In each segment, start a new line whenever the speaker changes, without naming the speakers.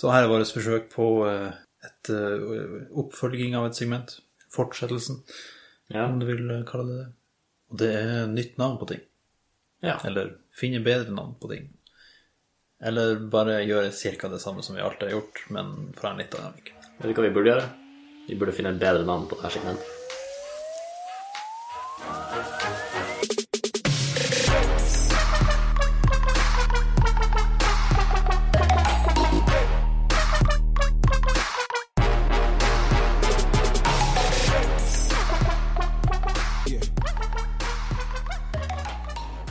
Så her er vårt forsøk på eh, et eh, oppfølging av et segment. Fortsettelsen,
Ja.
om du vil eh, kalle det det. Og det er nytt navn på ting.
ja.
Eller finne bedre navn på ting. Eller bare gjøre cirka det samme som vi alltid har gjort, men fra en litt annen vinkel.
Vet du hva vi burde gjøre? Vi burde finne et bedre navn på det her segmentet.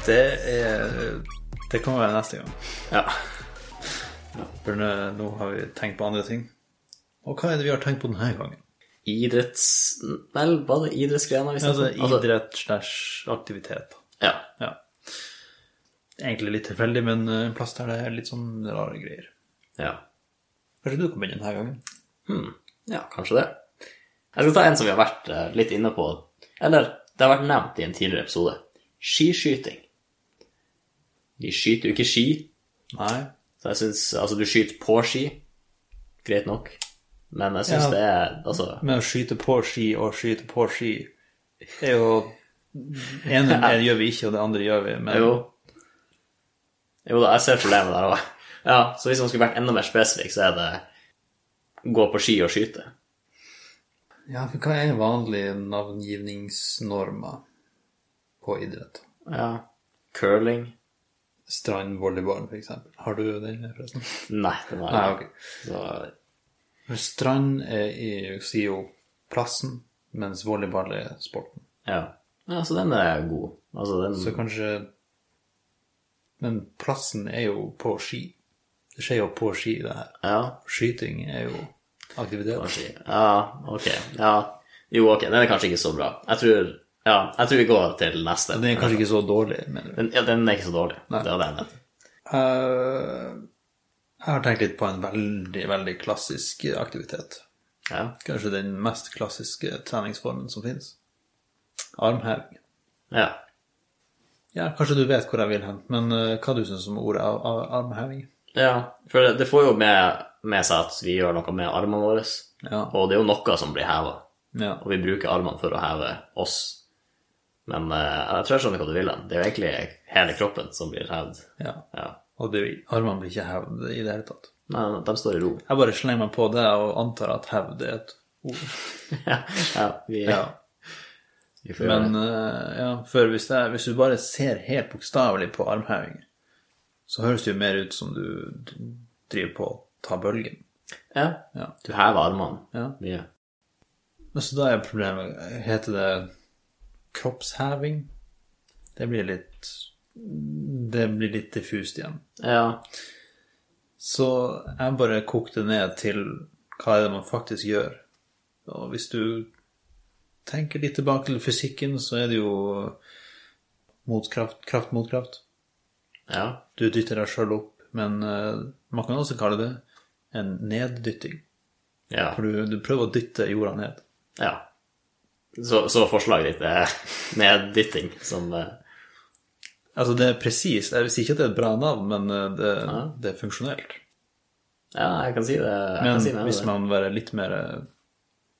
Det er Det kan være neste gang.
Ja.
For nå, nå har vi tenkt på andre ting. Og hva er det vi har tenkt på denne gangen?
Idretts... Vel, var det idrettsgrener vi
Altså
snakket om? Altså,
idrett slash aktivitet.
Ja.
Ja. Egentlig litt tilfeldig, men eh, en plass der det er litt sånn rare greier.
ja.
Kanskje du kan begynne denne gangen?
Ja, kanskje det. Jeg skal ta en som vi har vært eh, litt inne på. Eller, det har vært nevnt i en tidligere episode. Skiskyting. Vi skyter jo ikke ski,
Nei.
så jeg synes... Altså, du skyter på ski. Greit nok. Men jeg synes
Ja.
det er... Altså...
Men å skyte på ski og skyte på ski er jo ene mer gjør vi ikke, og det andre gjør vi. Men
Jo. Jo da, jeg ser problemet der òg. Ja, så hvis man skulle vært enda mer spesifikk, så er det gå på ski og skyte.
ja, for hva er vanlige navngivningsnormer på idrett?
Ja. Curling.
Strandvolleyball, for eksempel. Har du den, forresten?
Nei, det var
Nei, ok.
Så,
For strand er i- sier jo plassen, mens volleyball er sporten.
ja. ja, så den er god. Altså, den
Så kanskje Men plassen er jo på ski. Det skjer jo på ski, det her.
Ja.
Skyting er jo
på
aktivitet.
ski. Ja, ok. Ja. Jo, ok, den er kanskje ikke så bra. Jeg tror Ja, jeg tror vi går til neste.
Den er kanskje ikke så dårlig, mener du?
Den, ja, den er ikke så dårlig. Det var den.
Eh, jeg har tenkt litt på en veldig, veldig klassisk aktivitet.
Ja.
Kanskje den mest klassiske treningsformen som fins. Armheving.
ja.
Ja, kanskje du vet hvor jeg vil hen, men eh, hva du syns om ordet ar- ar- armheving?
Ja, for det, det får jo med, med seg at vi gjør noe med armene våre.
Ja.
Og det er jo noe som blir heva,
Ja.
og vi bruker armene for å heve oss. Men eh, jeg tror jeg skjønner hva du vil hen. Det er jo egentlig hele kroppen som blir hevd.
ja.
Ja.
Og det, armene blir ikke hevd i det hele tatt.
Nei, de står i ro.
Jeg bare slenger meg på det og antar at hevd er et ord.
ja, vi,
Ja.
vi får gjøre
Men
det.
eh, ja, for hvis, det, er- hvis du bare ser helt bokstavelig på armheving, så høres det jo mer ut som du d- driver på å ta bølgen.
Ja.
Ja.
Du hever armene
Ja.
mye.
Men så da er problemet Heter det kroppsheving? Det blir litt Det blir litt diffust igjen.
Ja.
Så jeg bare kokte ned til hva er det man faktisk gjør. Og hvis du tenker litt tilbake til fysikken, så er det jo motkraft, kraft mot kraft.
ja.
Du dytter deg sjøl opp, men eh, man kan også kalle det en neddytting.
Ja.
For du, du prøver å dytte jorda ned.
ja. Så, så forslaget ditt er neddytting som eh,
Altså, det er presist. Jeg vil si ikke at det er et bra navn, men eh, det,
Ja.
det er funksjonelt.
Ja, jeg kan si det. Jeg
Men
kan si det.
hvis man være litt mer eh,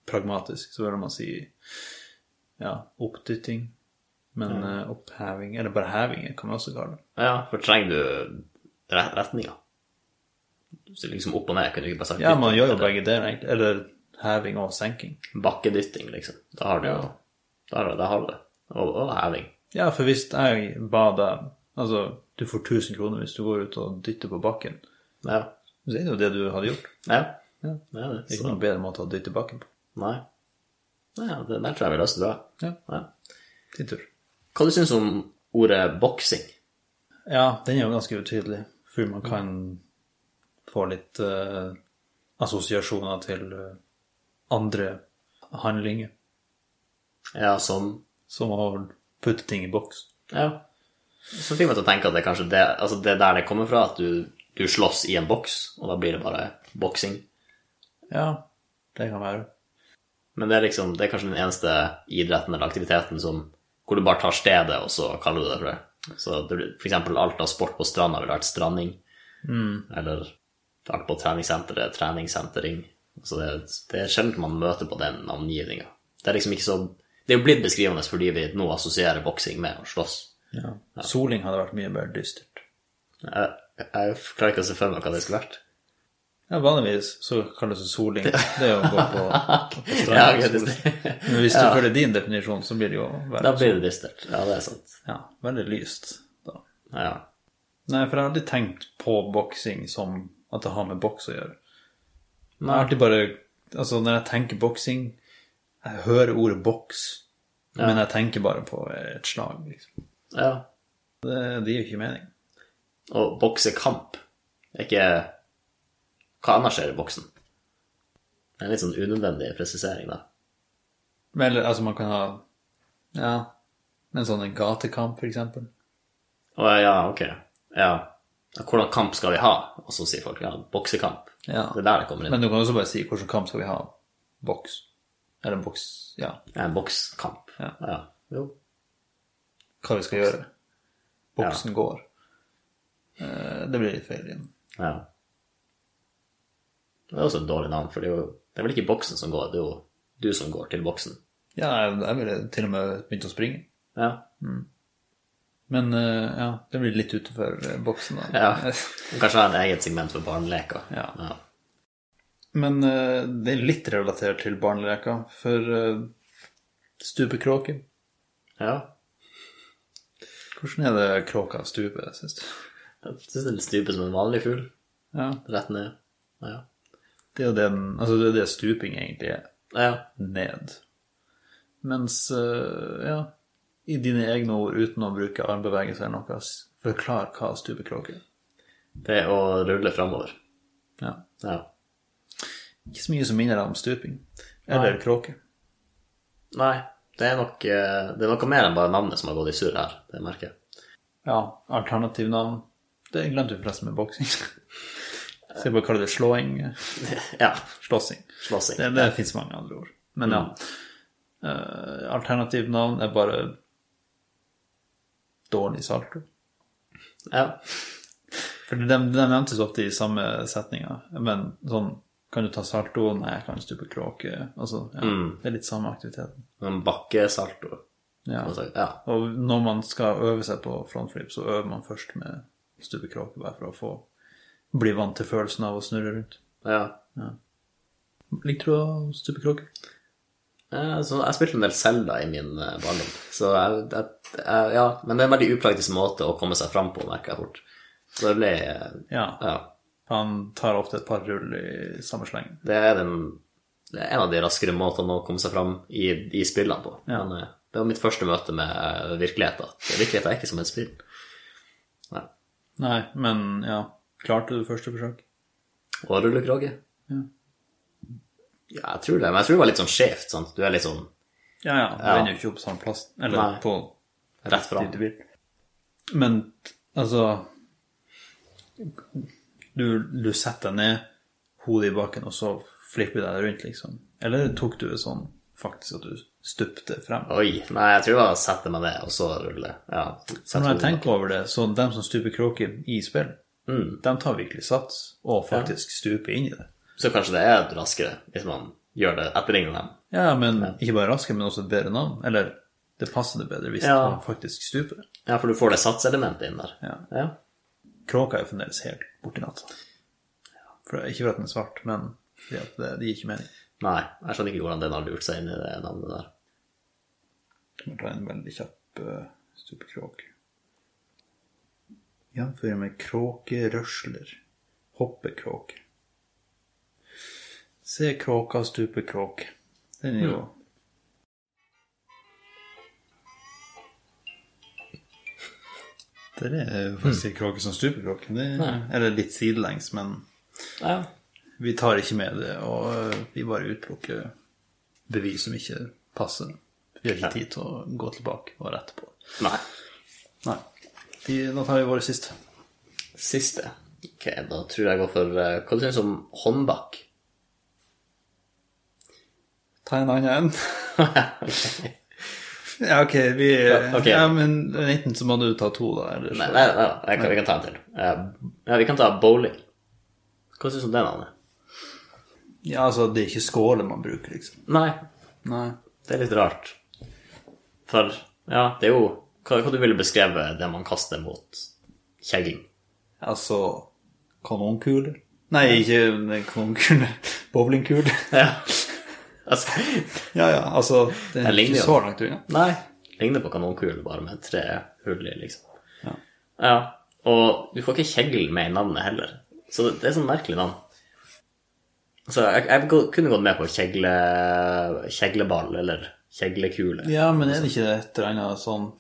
pragmatisk, så vil man si ja, oppdytting. Men eh, oppheving, eller bare heving, kan man også kalle det.
Ja, for trenger du re- retninga? Så liksom opp og ned, kunne du ikke bare sagt
Ja,
dytting,
man gjør jo
eller
begge deler, egentlig. Eller heving og senking.
Bakkedytting, liksom. Da har du jo Da har du, da har du det. Og, og heving.
Ja, for hvis jeg ba deg Altså, du får 1000 kroner hvis du går ut og dytter på bakken.
Ja.
Så er det jo det du hadde gjort.
Ja.
Ja.
Det er
Det er
det.
ikke
Så,
noen bedre måte å dytte bakken på.
nei. Nei, ja, det der tror jeg vi løste bra.
Ja,
Ja.
din tur.
Hva du syns om ordet boksing?
Ja, den er jo ganske utydelig, for man kan få litt eh, assosiasjoner til eh, andre handlinger,
Ja, som
som å putte ting i boks.
Ja. Så fikk meg til å tenke at det er kanskje det, altså det er der det kommer fra, at du, du slåss i en boks, og da blir det bare boksing.
Ja, det kan være.
Men det er liksom, det er kanskje den eneste idretten eller aktiviteten som, hvor du bare tar stedet, og så kaller du det for det. Så det blir- for eksempel alt av sport på stranda ville vært stranding, eller vært på treningssenteret, treningssentering. Så det, det er sjelden man møter på den navngivninga. Det er liksom ikke så Det er jo blitt beskrivende fordi vi nå assosierer boksing med å slåss.
Ja. Soling hadde vært mye mer dystert.
Jeg, jeg klarer ikke å se for meg hva det skulle vært.
Ja, vanligvis så kalles det soling. Det er å gå på, på
Ja,
stranda.
ok,
og sole.
det-
Men hvis du følger din definisjon, så blir det jo
da
veldig,
blir det dystert. Ja, det er sant.
ja, veldig lyst. Da.
Ja.
Nei, for jeg har aldri tenkt på boksing som at det har med boks å gjøre. Jeg
Nei.
har alltid bare Altså, når jeg tenker boksing, jeg hører ordet boks, men jeg tenker bare på et slag, liksom.
ja.
Det, det gir jo ikke mening.
Og boksekamp er ikke Hva annet skjer i boksen? Det er en litt sånn unødvendig presisering, da.
Men eller, altså, man kan ha Ja, en sånn en gatekamp, for eksempel.
Å ja, ja, ok. Ja. Ja, Hvordan kamp skal vi ha? Og så sier folk ja, boksekamp.
Ja.
Det er der det kommer inn.
Men du kan også bare si hvilken kamp skal vi ha? Boks. Eller boks Ja,
Ja, en bokskamp.
Ja.
ja. Jo.
hva vi skal gjøre. Boksen går. Eh, Det blir litt feil igjen.
Ja. Det er også et dårlig navn, for det er, jo, det er vel ikke boksen som går, det er jo du som går til boksen.
Ja, jeg, jeg ville til og med begynt å springe.
Ja.
Men eh, ja, det blir litt utenfor eh, boksen, da.
Ja. Og Kanskje ha en eget segment for barneleker.
Ja.
ja.
Men eh, det er litt relatert til barneleka, for eh, stupekråke
ja.
Hvordan er det kråka stuper, syns du?
Jeg syns den stuper som en vanlig fugl.
Ja,
Rett ned. Ja.
det er jo det, den- altså det, er det stuping egentlig er.
ja.
ned. Mens, eh, ja, i dine egne ord, uten å bruke armbevegelser eller noe, s- forklar hva stupekråke er.
Det er å rulle framover.
Ja.
Ja.
Ikke så mye som minner deg om stuping. Eller kråke.
Nei, det er nok eh, Det er noe mer enn bare navnet som har gått i surr her, det merker jeg.
Ja, alternativnavn. Det glemte vi forresten med boksing. Så jeg bare kaller det slåing.
Ja.
Slåssing.
Slåssing.
Det, det fins mange andre ord. Men ja. Eh, alternativnavn er bare dårlig salto.
Ja.
For de, de nevntes ofte i samme setninga. Men sånn Kan du ta salto? Nei, jeg kan stupe kråke. Altså, ja, Det er litt samme aktiviteten.
En bakkesalto.
Ja.
Altså, ja.
Og når man skal øve seg på frontflip, så øver man først med stupe kråke, bare for å få bli vant til følelsen av å snurre rundt.
ja.
Likte du å stupe kråke?
Eh, Så jeg spilte en del Zelda i min eh, barndom. Så jeg, jeg, jeg, ja, men det er en veldig upraktisk måte å komme seg fram på, merker jeg fort. Så det ble eh,
Ja.
Ja.
Han tar ofte et par rull i samme sleng.
Det er, den, det er en av de raskere måtene å komme seg fram i, i spillene på.
Ja.
Men eh, det var mitt første møte med eh, virkeligheten. Virkeligheten er ikke som et spill. Nei.
Nei, men ja. Klarte du første forsøk?
Og rullekråke.
Ja.
Ja, jeg tror det. Men jeg tror det var litt sånn skjevt. sant? Du er litt sånn
Ja, ja. Du
Ja.
ender jo ikke opp på samme plass. Eller
Nei.
på
rett fram.
dit du vil. Men altså du, du setter deg ned, hodet i bakken, og så flipper du deg rundt, liksom. Eller tok du det sånn faktisk at du stupte frem?
Oi. Nei, jeg tror det var å sette meg ned, og så rulle. Ja,
Så når jeg
sette hodet bak.
tenker over det, så dem som stuper kråke i spill,
Mm.
de tar virkelig sats og faktisk stuper inn i det.
Så kanskje det er raskere, hvis man gjør det etterligner dem.
Ja, men ikke bare raskere, men også et bedre navn. Eller det passer det bedre hvis
Ja.
man faktisk stuper.
Ja, for du får det satselementet inn der.
Ja.
ja.
Kråka er jo fremdeles helt borti natta. For, ikke for at den er svart, men fordi at det, det gir ikke mening.
Nei, jeg skjønner ikke hvordan den har lurt seg inn i det navnet der.
Kan ta en veldig kjapp uh, stupekråk. Jamfører med kråkerørsler. Hoppekråke. Se kråka stupekråk. Den er jo Det er jo faktisk en kråke som stupekråke. Det
Nei.
eller litt sidelengs, men
Ja.
vi tar ikke med det. Og eh, vi bare utplukker bevis som ikke passer. Vi har ikke tid til å gå tilbake og rette på det.
Nei.
Nei. De, nå tar vi våre siste.
Siste. Ok, da tror jeg jeg går for eh, Hva du synes om håndbak?
Ta en annen en. ja, ok, vi ja,
ok.
men enten så må du ta to, da. Eller
Nei,
så.
nei, nei, nei jeg kan, vi kan ta en til. Eh, Ja, vi kan ta bowling. Hva syns du om det navnet?
Ja, altså, det er ikke skåler man bruker, liksom.
Nei,
Nei.
det er litt rart. For ja, det er jo Hva, hva du ville beskrevet det man kaster mot kjeglen?
Altså kanonkuler? Nei, ikke kanonkuler. Bowlingkuler.
Ja. altså
Ja, ja, altså Det
Jeg
er
ligner
ikke
jo.
så langt unna.
Nei. Ligner på kanonkul, bare med tre hull i, liksom.
Ja.
Ja, Og du får ikke kjegl med i navnet heller, så det, det er sånn merkelig navn. Så jeg, jeg gå- kunne gått med på kjegle, kjegleball eller kjeglekule.
Ja, men er det ikke et eller annet sånn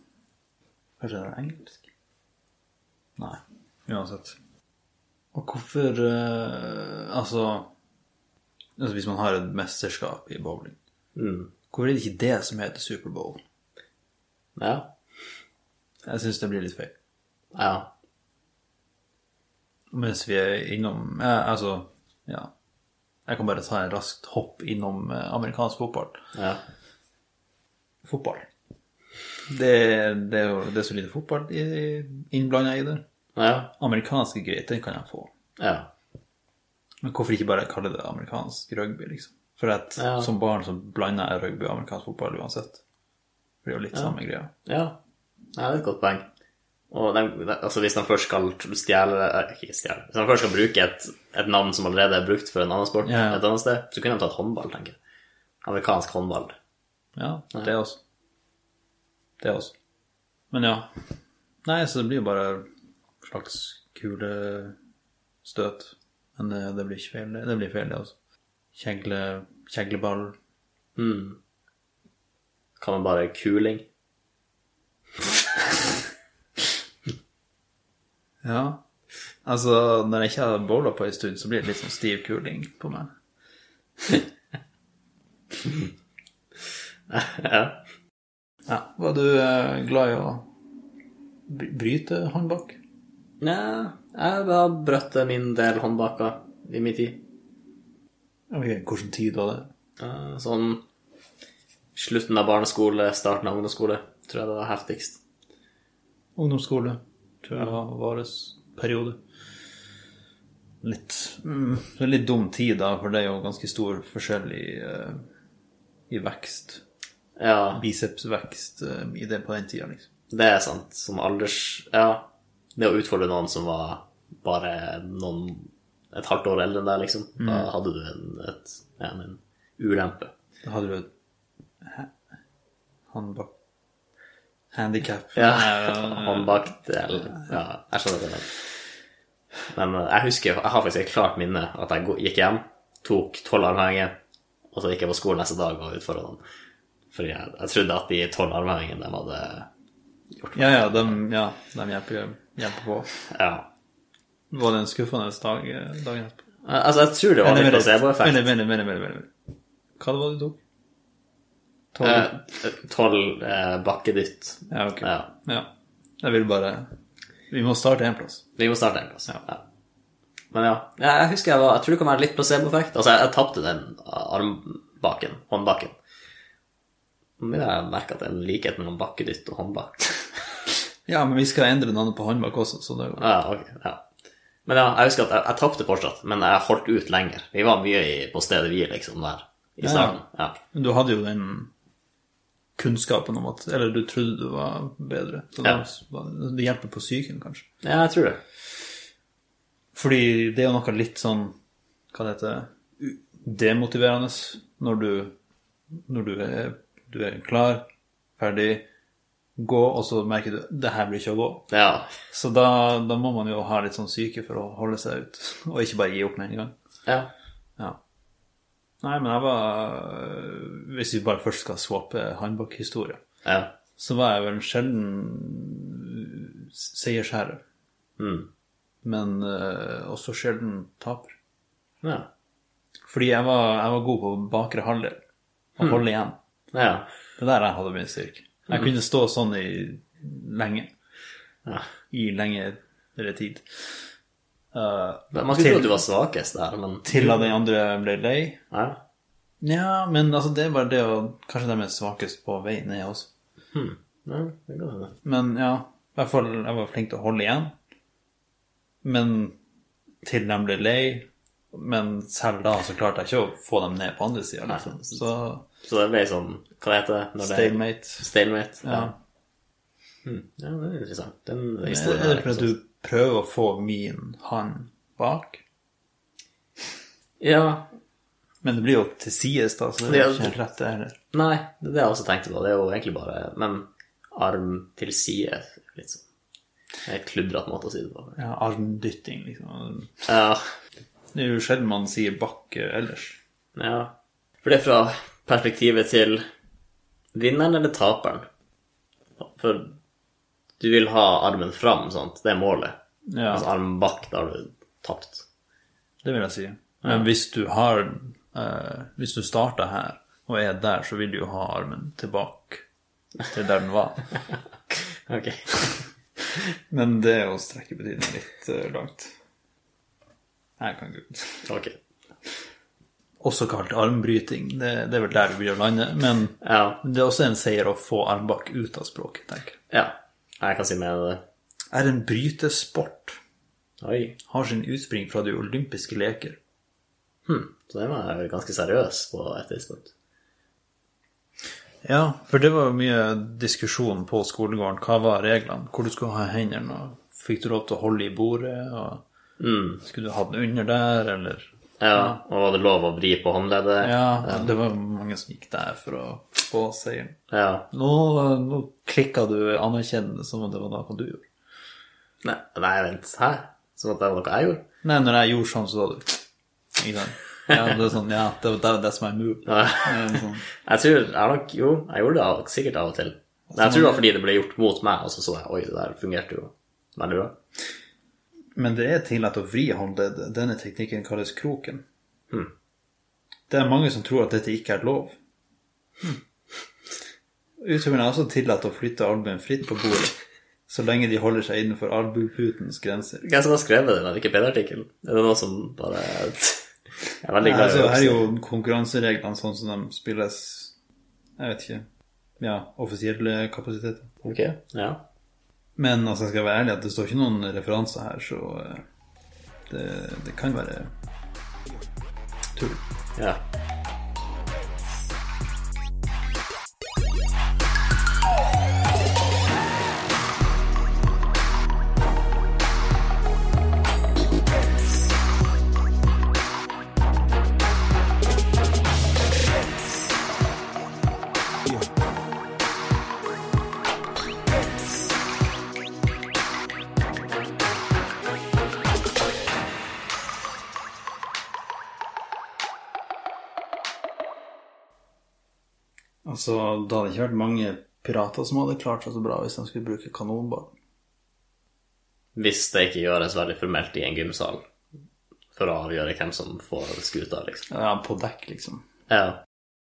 Kanskje det er engelsk? Nei. Uansett. Og hvorfor eh, altså, altså Hvis man har et mesterskap i bowling,
Mm.
hvorfor er det ikke det som heter Superbowl?
ja.
Jeg syns det blir litt feil.
ja.
Mens vi er innom eh, Altså, ja. Jeg kan bare ta en raskt hopp innom eh, amerikansk fotball.
Ja.
Fotball. Det, det, er jo- det er så lite fotball innblanda i det.
Ja.
Amerikansk er greit, den kan jeg få.
ja.
Men hvorfor ikke bare kalle det amerikansk rugby, liksom? For at
Ja.
som barn så blander jeg rugby og amerikansk fotball uansett. For det er jo litt samme greia.
Ja, ja det er et godt poeng. Og de, de- altså hvis de først skal stjele eh, Ikke stjele Hvis de først skal bruke et, et navn som allerede er brukt for en annen sport,
Ja, ja.
et annet sted, så kunne de tatt håndball, tenker jeg. Amerikansk håndball.
Ja, det også. Det også. Men ja. Nei, så det blir jo bare slags kulestøt. Men det, det blir ikke feil, det. Det blir feil, det også. Kjegle, kjegleball.
Hmm. Kan man bare kuling?
Ja. Altså, når jeg ikke har bowla på en stund, så blir det litt sånn stiv kuling på meg.
ja.
Ja. Var du eh, glad i å bry- bryte håndbak?
Nja, jeg har brøtt min del håndbaker i min tid.
Ok, Hvilken tid var det?
Eh, Sånn slutten av barneskole, starten av ungdomsskole, tror jeg det var heftigst.
Ungdomsskole, tror jeg var våres periode. Litt, mm, det er litt dum tid da, for det er jo ganske stor forskjell i, eh, i vekst.
Ja,
Bicepsvekst eh, i det på den tida, liksom.
Det er sant. Som alders... Ja. Det å utfordre noen som var bare noen et halvt år eldre enn deg, liksom. Da hadde du en, et, en, en ulempe.
Da hadde du et håndbak... Handikap.
Ja. Håndbakt eller Ja, jeg skjønner det. Men eh, jeg husker Jeg har faktisk et klart minne at jeg gå- gikk hjem, tok tolv armhevinger, og så gikk jeg på skolen neste dag og utfordra dem. Fordi jeg, jeg trodde at de tolv armhevingene de hadde
ja, ja, de, ja, de hjelper, hjelper på.
Ja.
Var det en skuffende dag eh, dagen etterpå?
Altså, jeg tror det var litt placeboeffekt.
vent, vent, vent, vent, vent. Hva det var det du tok? Tolv?
Eh, Tolv eh, bakkedytt.
Ja, ok.
Ja.
Ja. Jeg vil bare Vi må starte en plass.
Vi må starte en plass. Ja. Men ja, Ja, jeg husker jeg var Jeg tror det kan være litt placeboeffekt. Altså, jeg, jeg tapte den armbaken, håndbaken. Nå begynner jeg å merke at det er en likhet mellom bakkedytt og håndbak.
Ja, men vi skal endre navnet på håndbak også, så det er jo
ja, ok, ja. Men ja, jeg husker at jeg, jeg tapte fortsatt, men jeg holdt ut lenger. Vi var mye i, på stedet vi, liksom, der i
Ja.
starten. Ja.
Men du hadde jo den kunnskapen om at Eller du trodde du var bedre. Så
Ja.
det, var- det hjelper på psyken, kanskje.
ja, jeg tror det.
Fordi det er jo noe litt sånn Hva det heter u- Demotiverende når du Når du er, du er klar, ferdig, gå, og så merker du det her blir ikke å gå.
Ja.
Så da, da må man jo ha litt sånn syke for å holde seg ut, og ikke bare gi opp med en gang.
ja.
Ja. Nei, men jeg var Hvis vi bare først skal swappe håndbakhistorie,
ja.
så var jeg vel sjelden seiersherre.
Mm.
Men eh, også sjelden taper.
ja.
Fordi jeg var, jeg var god på bakre halvdel. Å
Mm.
holde igjen.
Ja.
Det der jeg hadde min styrke. Jeg kunne stå sånn i lenge.
Mm. Ja.
I lengre tid. Eh,
Man skulle tro at du var svakest der, men
til at den andre ble lei.
ja.
Ja, men altså, det er bare det å Kanskje de er svakest på vei ned også.
Hmm. Ja, det kan hende.
Men ja, i hvert fall jeg var flink til å holde igjen. Men til de ble lei, Men selv da så klarte jeg ikke å få dem ned på andre sida, liksom. Så
Så det ble sånn Hva det heter det? når det?
stalemate.
Stalemate. Ja.
Ja.
Hm, ja, det er interessant. Den
Er
historien
er
er
det
ikke
fordi
sånn.
du prøver å få min hånd bak?
Ja.
Men det blir jo til sides, da, så det er
Ja.
jo ikke helt rett, det heller.
Nei, det er det jeg også tenkte på. Det er jo egentlig bare Men arm til side, litt sånn. Det er et kludrete måte å si det på.
Ja, armdytting, liksom.
Ja.
Det er jo sjelden man sier bakke ellers.
ja. For det er fra perspektivet til vinneren eller taperen. For du vil ha armen fram, sant? Det er målet.
Ja,
Altså armen bak, da har du tapt.
det vil jeg si. Men hvis du har eh, Hvis du starter her og er der, så vil du jo ha armen tilbake til der den var.
Ok.
Men det er å strekke betydningen litt eh, langt. Jeg kan ikke
Ok.
Også kalt armbryting. Det, det er vel der du vil lande. Men
Ja.
det er også en seier å få armbak ut av språket, tenker jeg.
Ja. Jeg kan si mer enn det.
Er en brytesport.
Oi.
Har sin utspring fra de olympiske leker.
Hm. Så den var jeg ganske seriøs på et tidspunkt.
Ja, for det var jo mye diskusjon på skolegården. Hva var reglene? Hvor du skulle ha hendene? og Fikk du lov til å holde i bordet? Og Skulle du ha den under der, eller
Ja, og var det lov å vri på håndleddet?
Ja, det var mange som gikk der for å få seieren.
ja.
Nå, nå klikka du anerkjennende som om det var noe du gjorde.
Nei, nei, vent, hæ? Som at det var noe jeg gjorde?
Nei, når jeg gjorde sånn, så var du Ikke sant? Ja, det er sånn, ja, det var det, that's my move.
Ja.
Det er sånn,
Jeg tror jeg har nok Jo, jeg gjorde det av- sikkert av og til. Men jeg tror det var fordi det ble gjort mot meg, og så så jeg oi, det der fungerte jo veldig bra.
Men det er tillatt å vri håndleddet. Denne teknikken kalles kroken. Det er mange som tror at dette ikke er lov. Utøverne er også tillatt å flytte albuen fritt på bordet, så lenge de holder seg innenfor albueputens grenser.
Hvem som har sånn skrevet den Wikipedia-artikkelen? Er det noen som bare Jeg er veldig glad
Altså,
i
her er
voksne.
jo konkurransereglene sånn som de spilles Jeg vet ikke. Ja, offisielle kapasiteter.
Ok, ja.
Men altså, jeg skal være ærlig at det står ikke noen referanser her, så eh, det, det kan være tull.
ja.
Altså, det hadde ikke vært mange pirater som hadde klart seg så bra hvis de skulle bruke kanonball.
Hvis det ikke gjøres veldig formelt i en gymsal for å avgjøre hvem som får skuta, liksom.
Ja, på dekk, liksom.
Ja.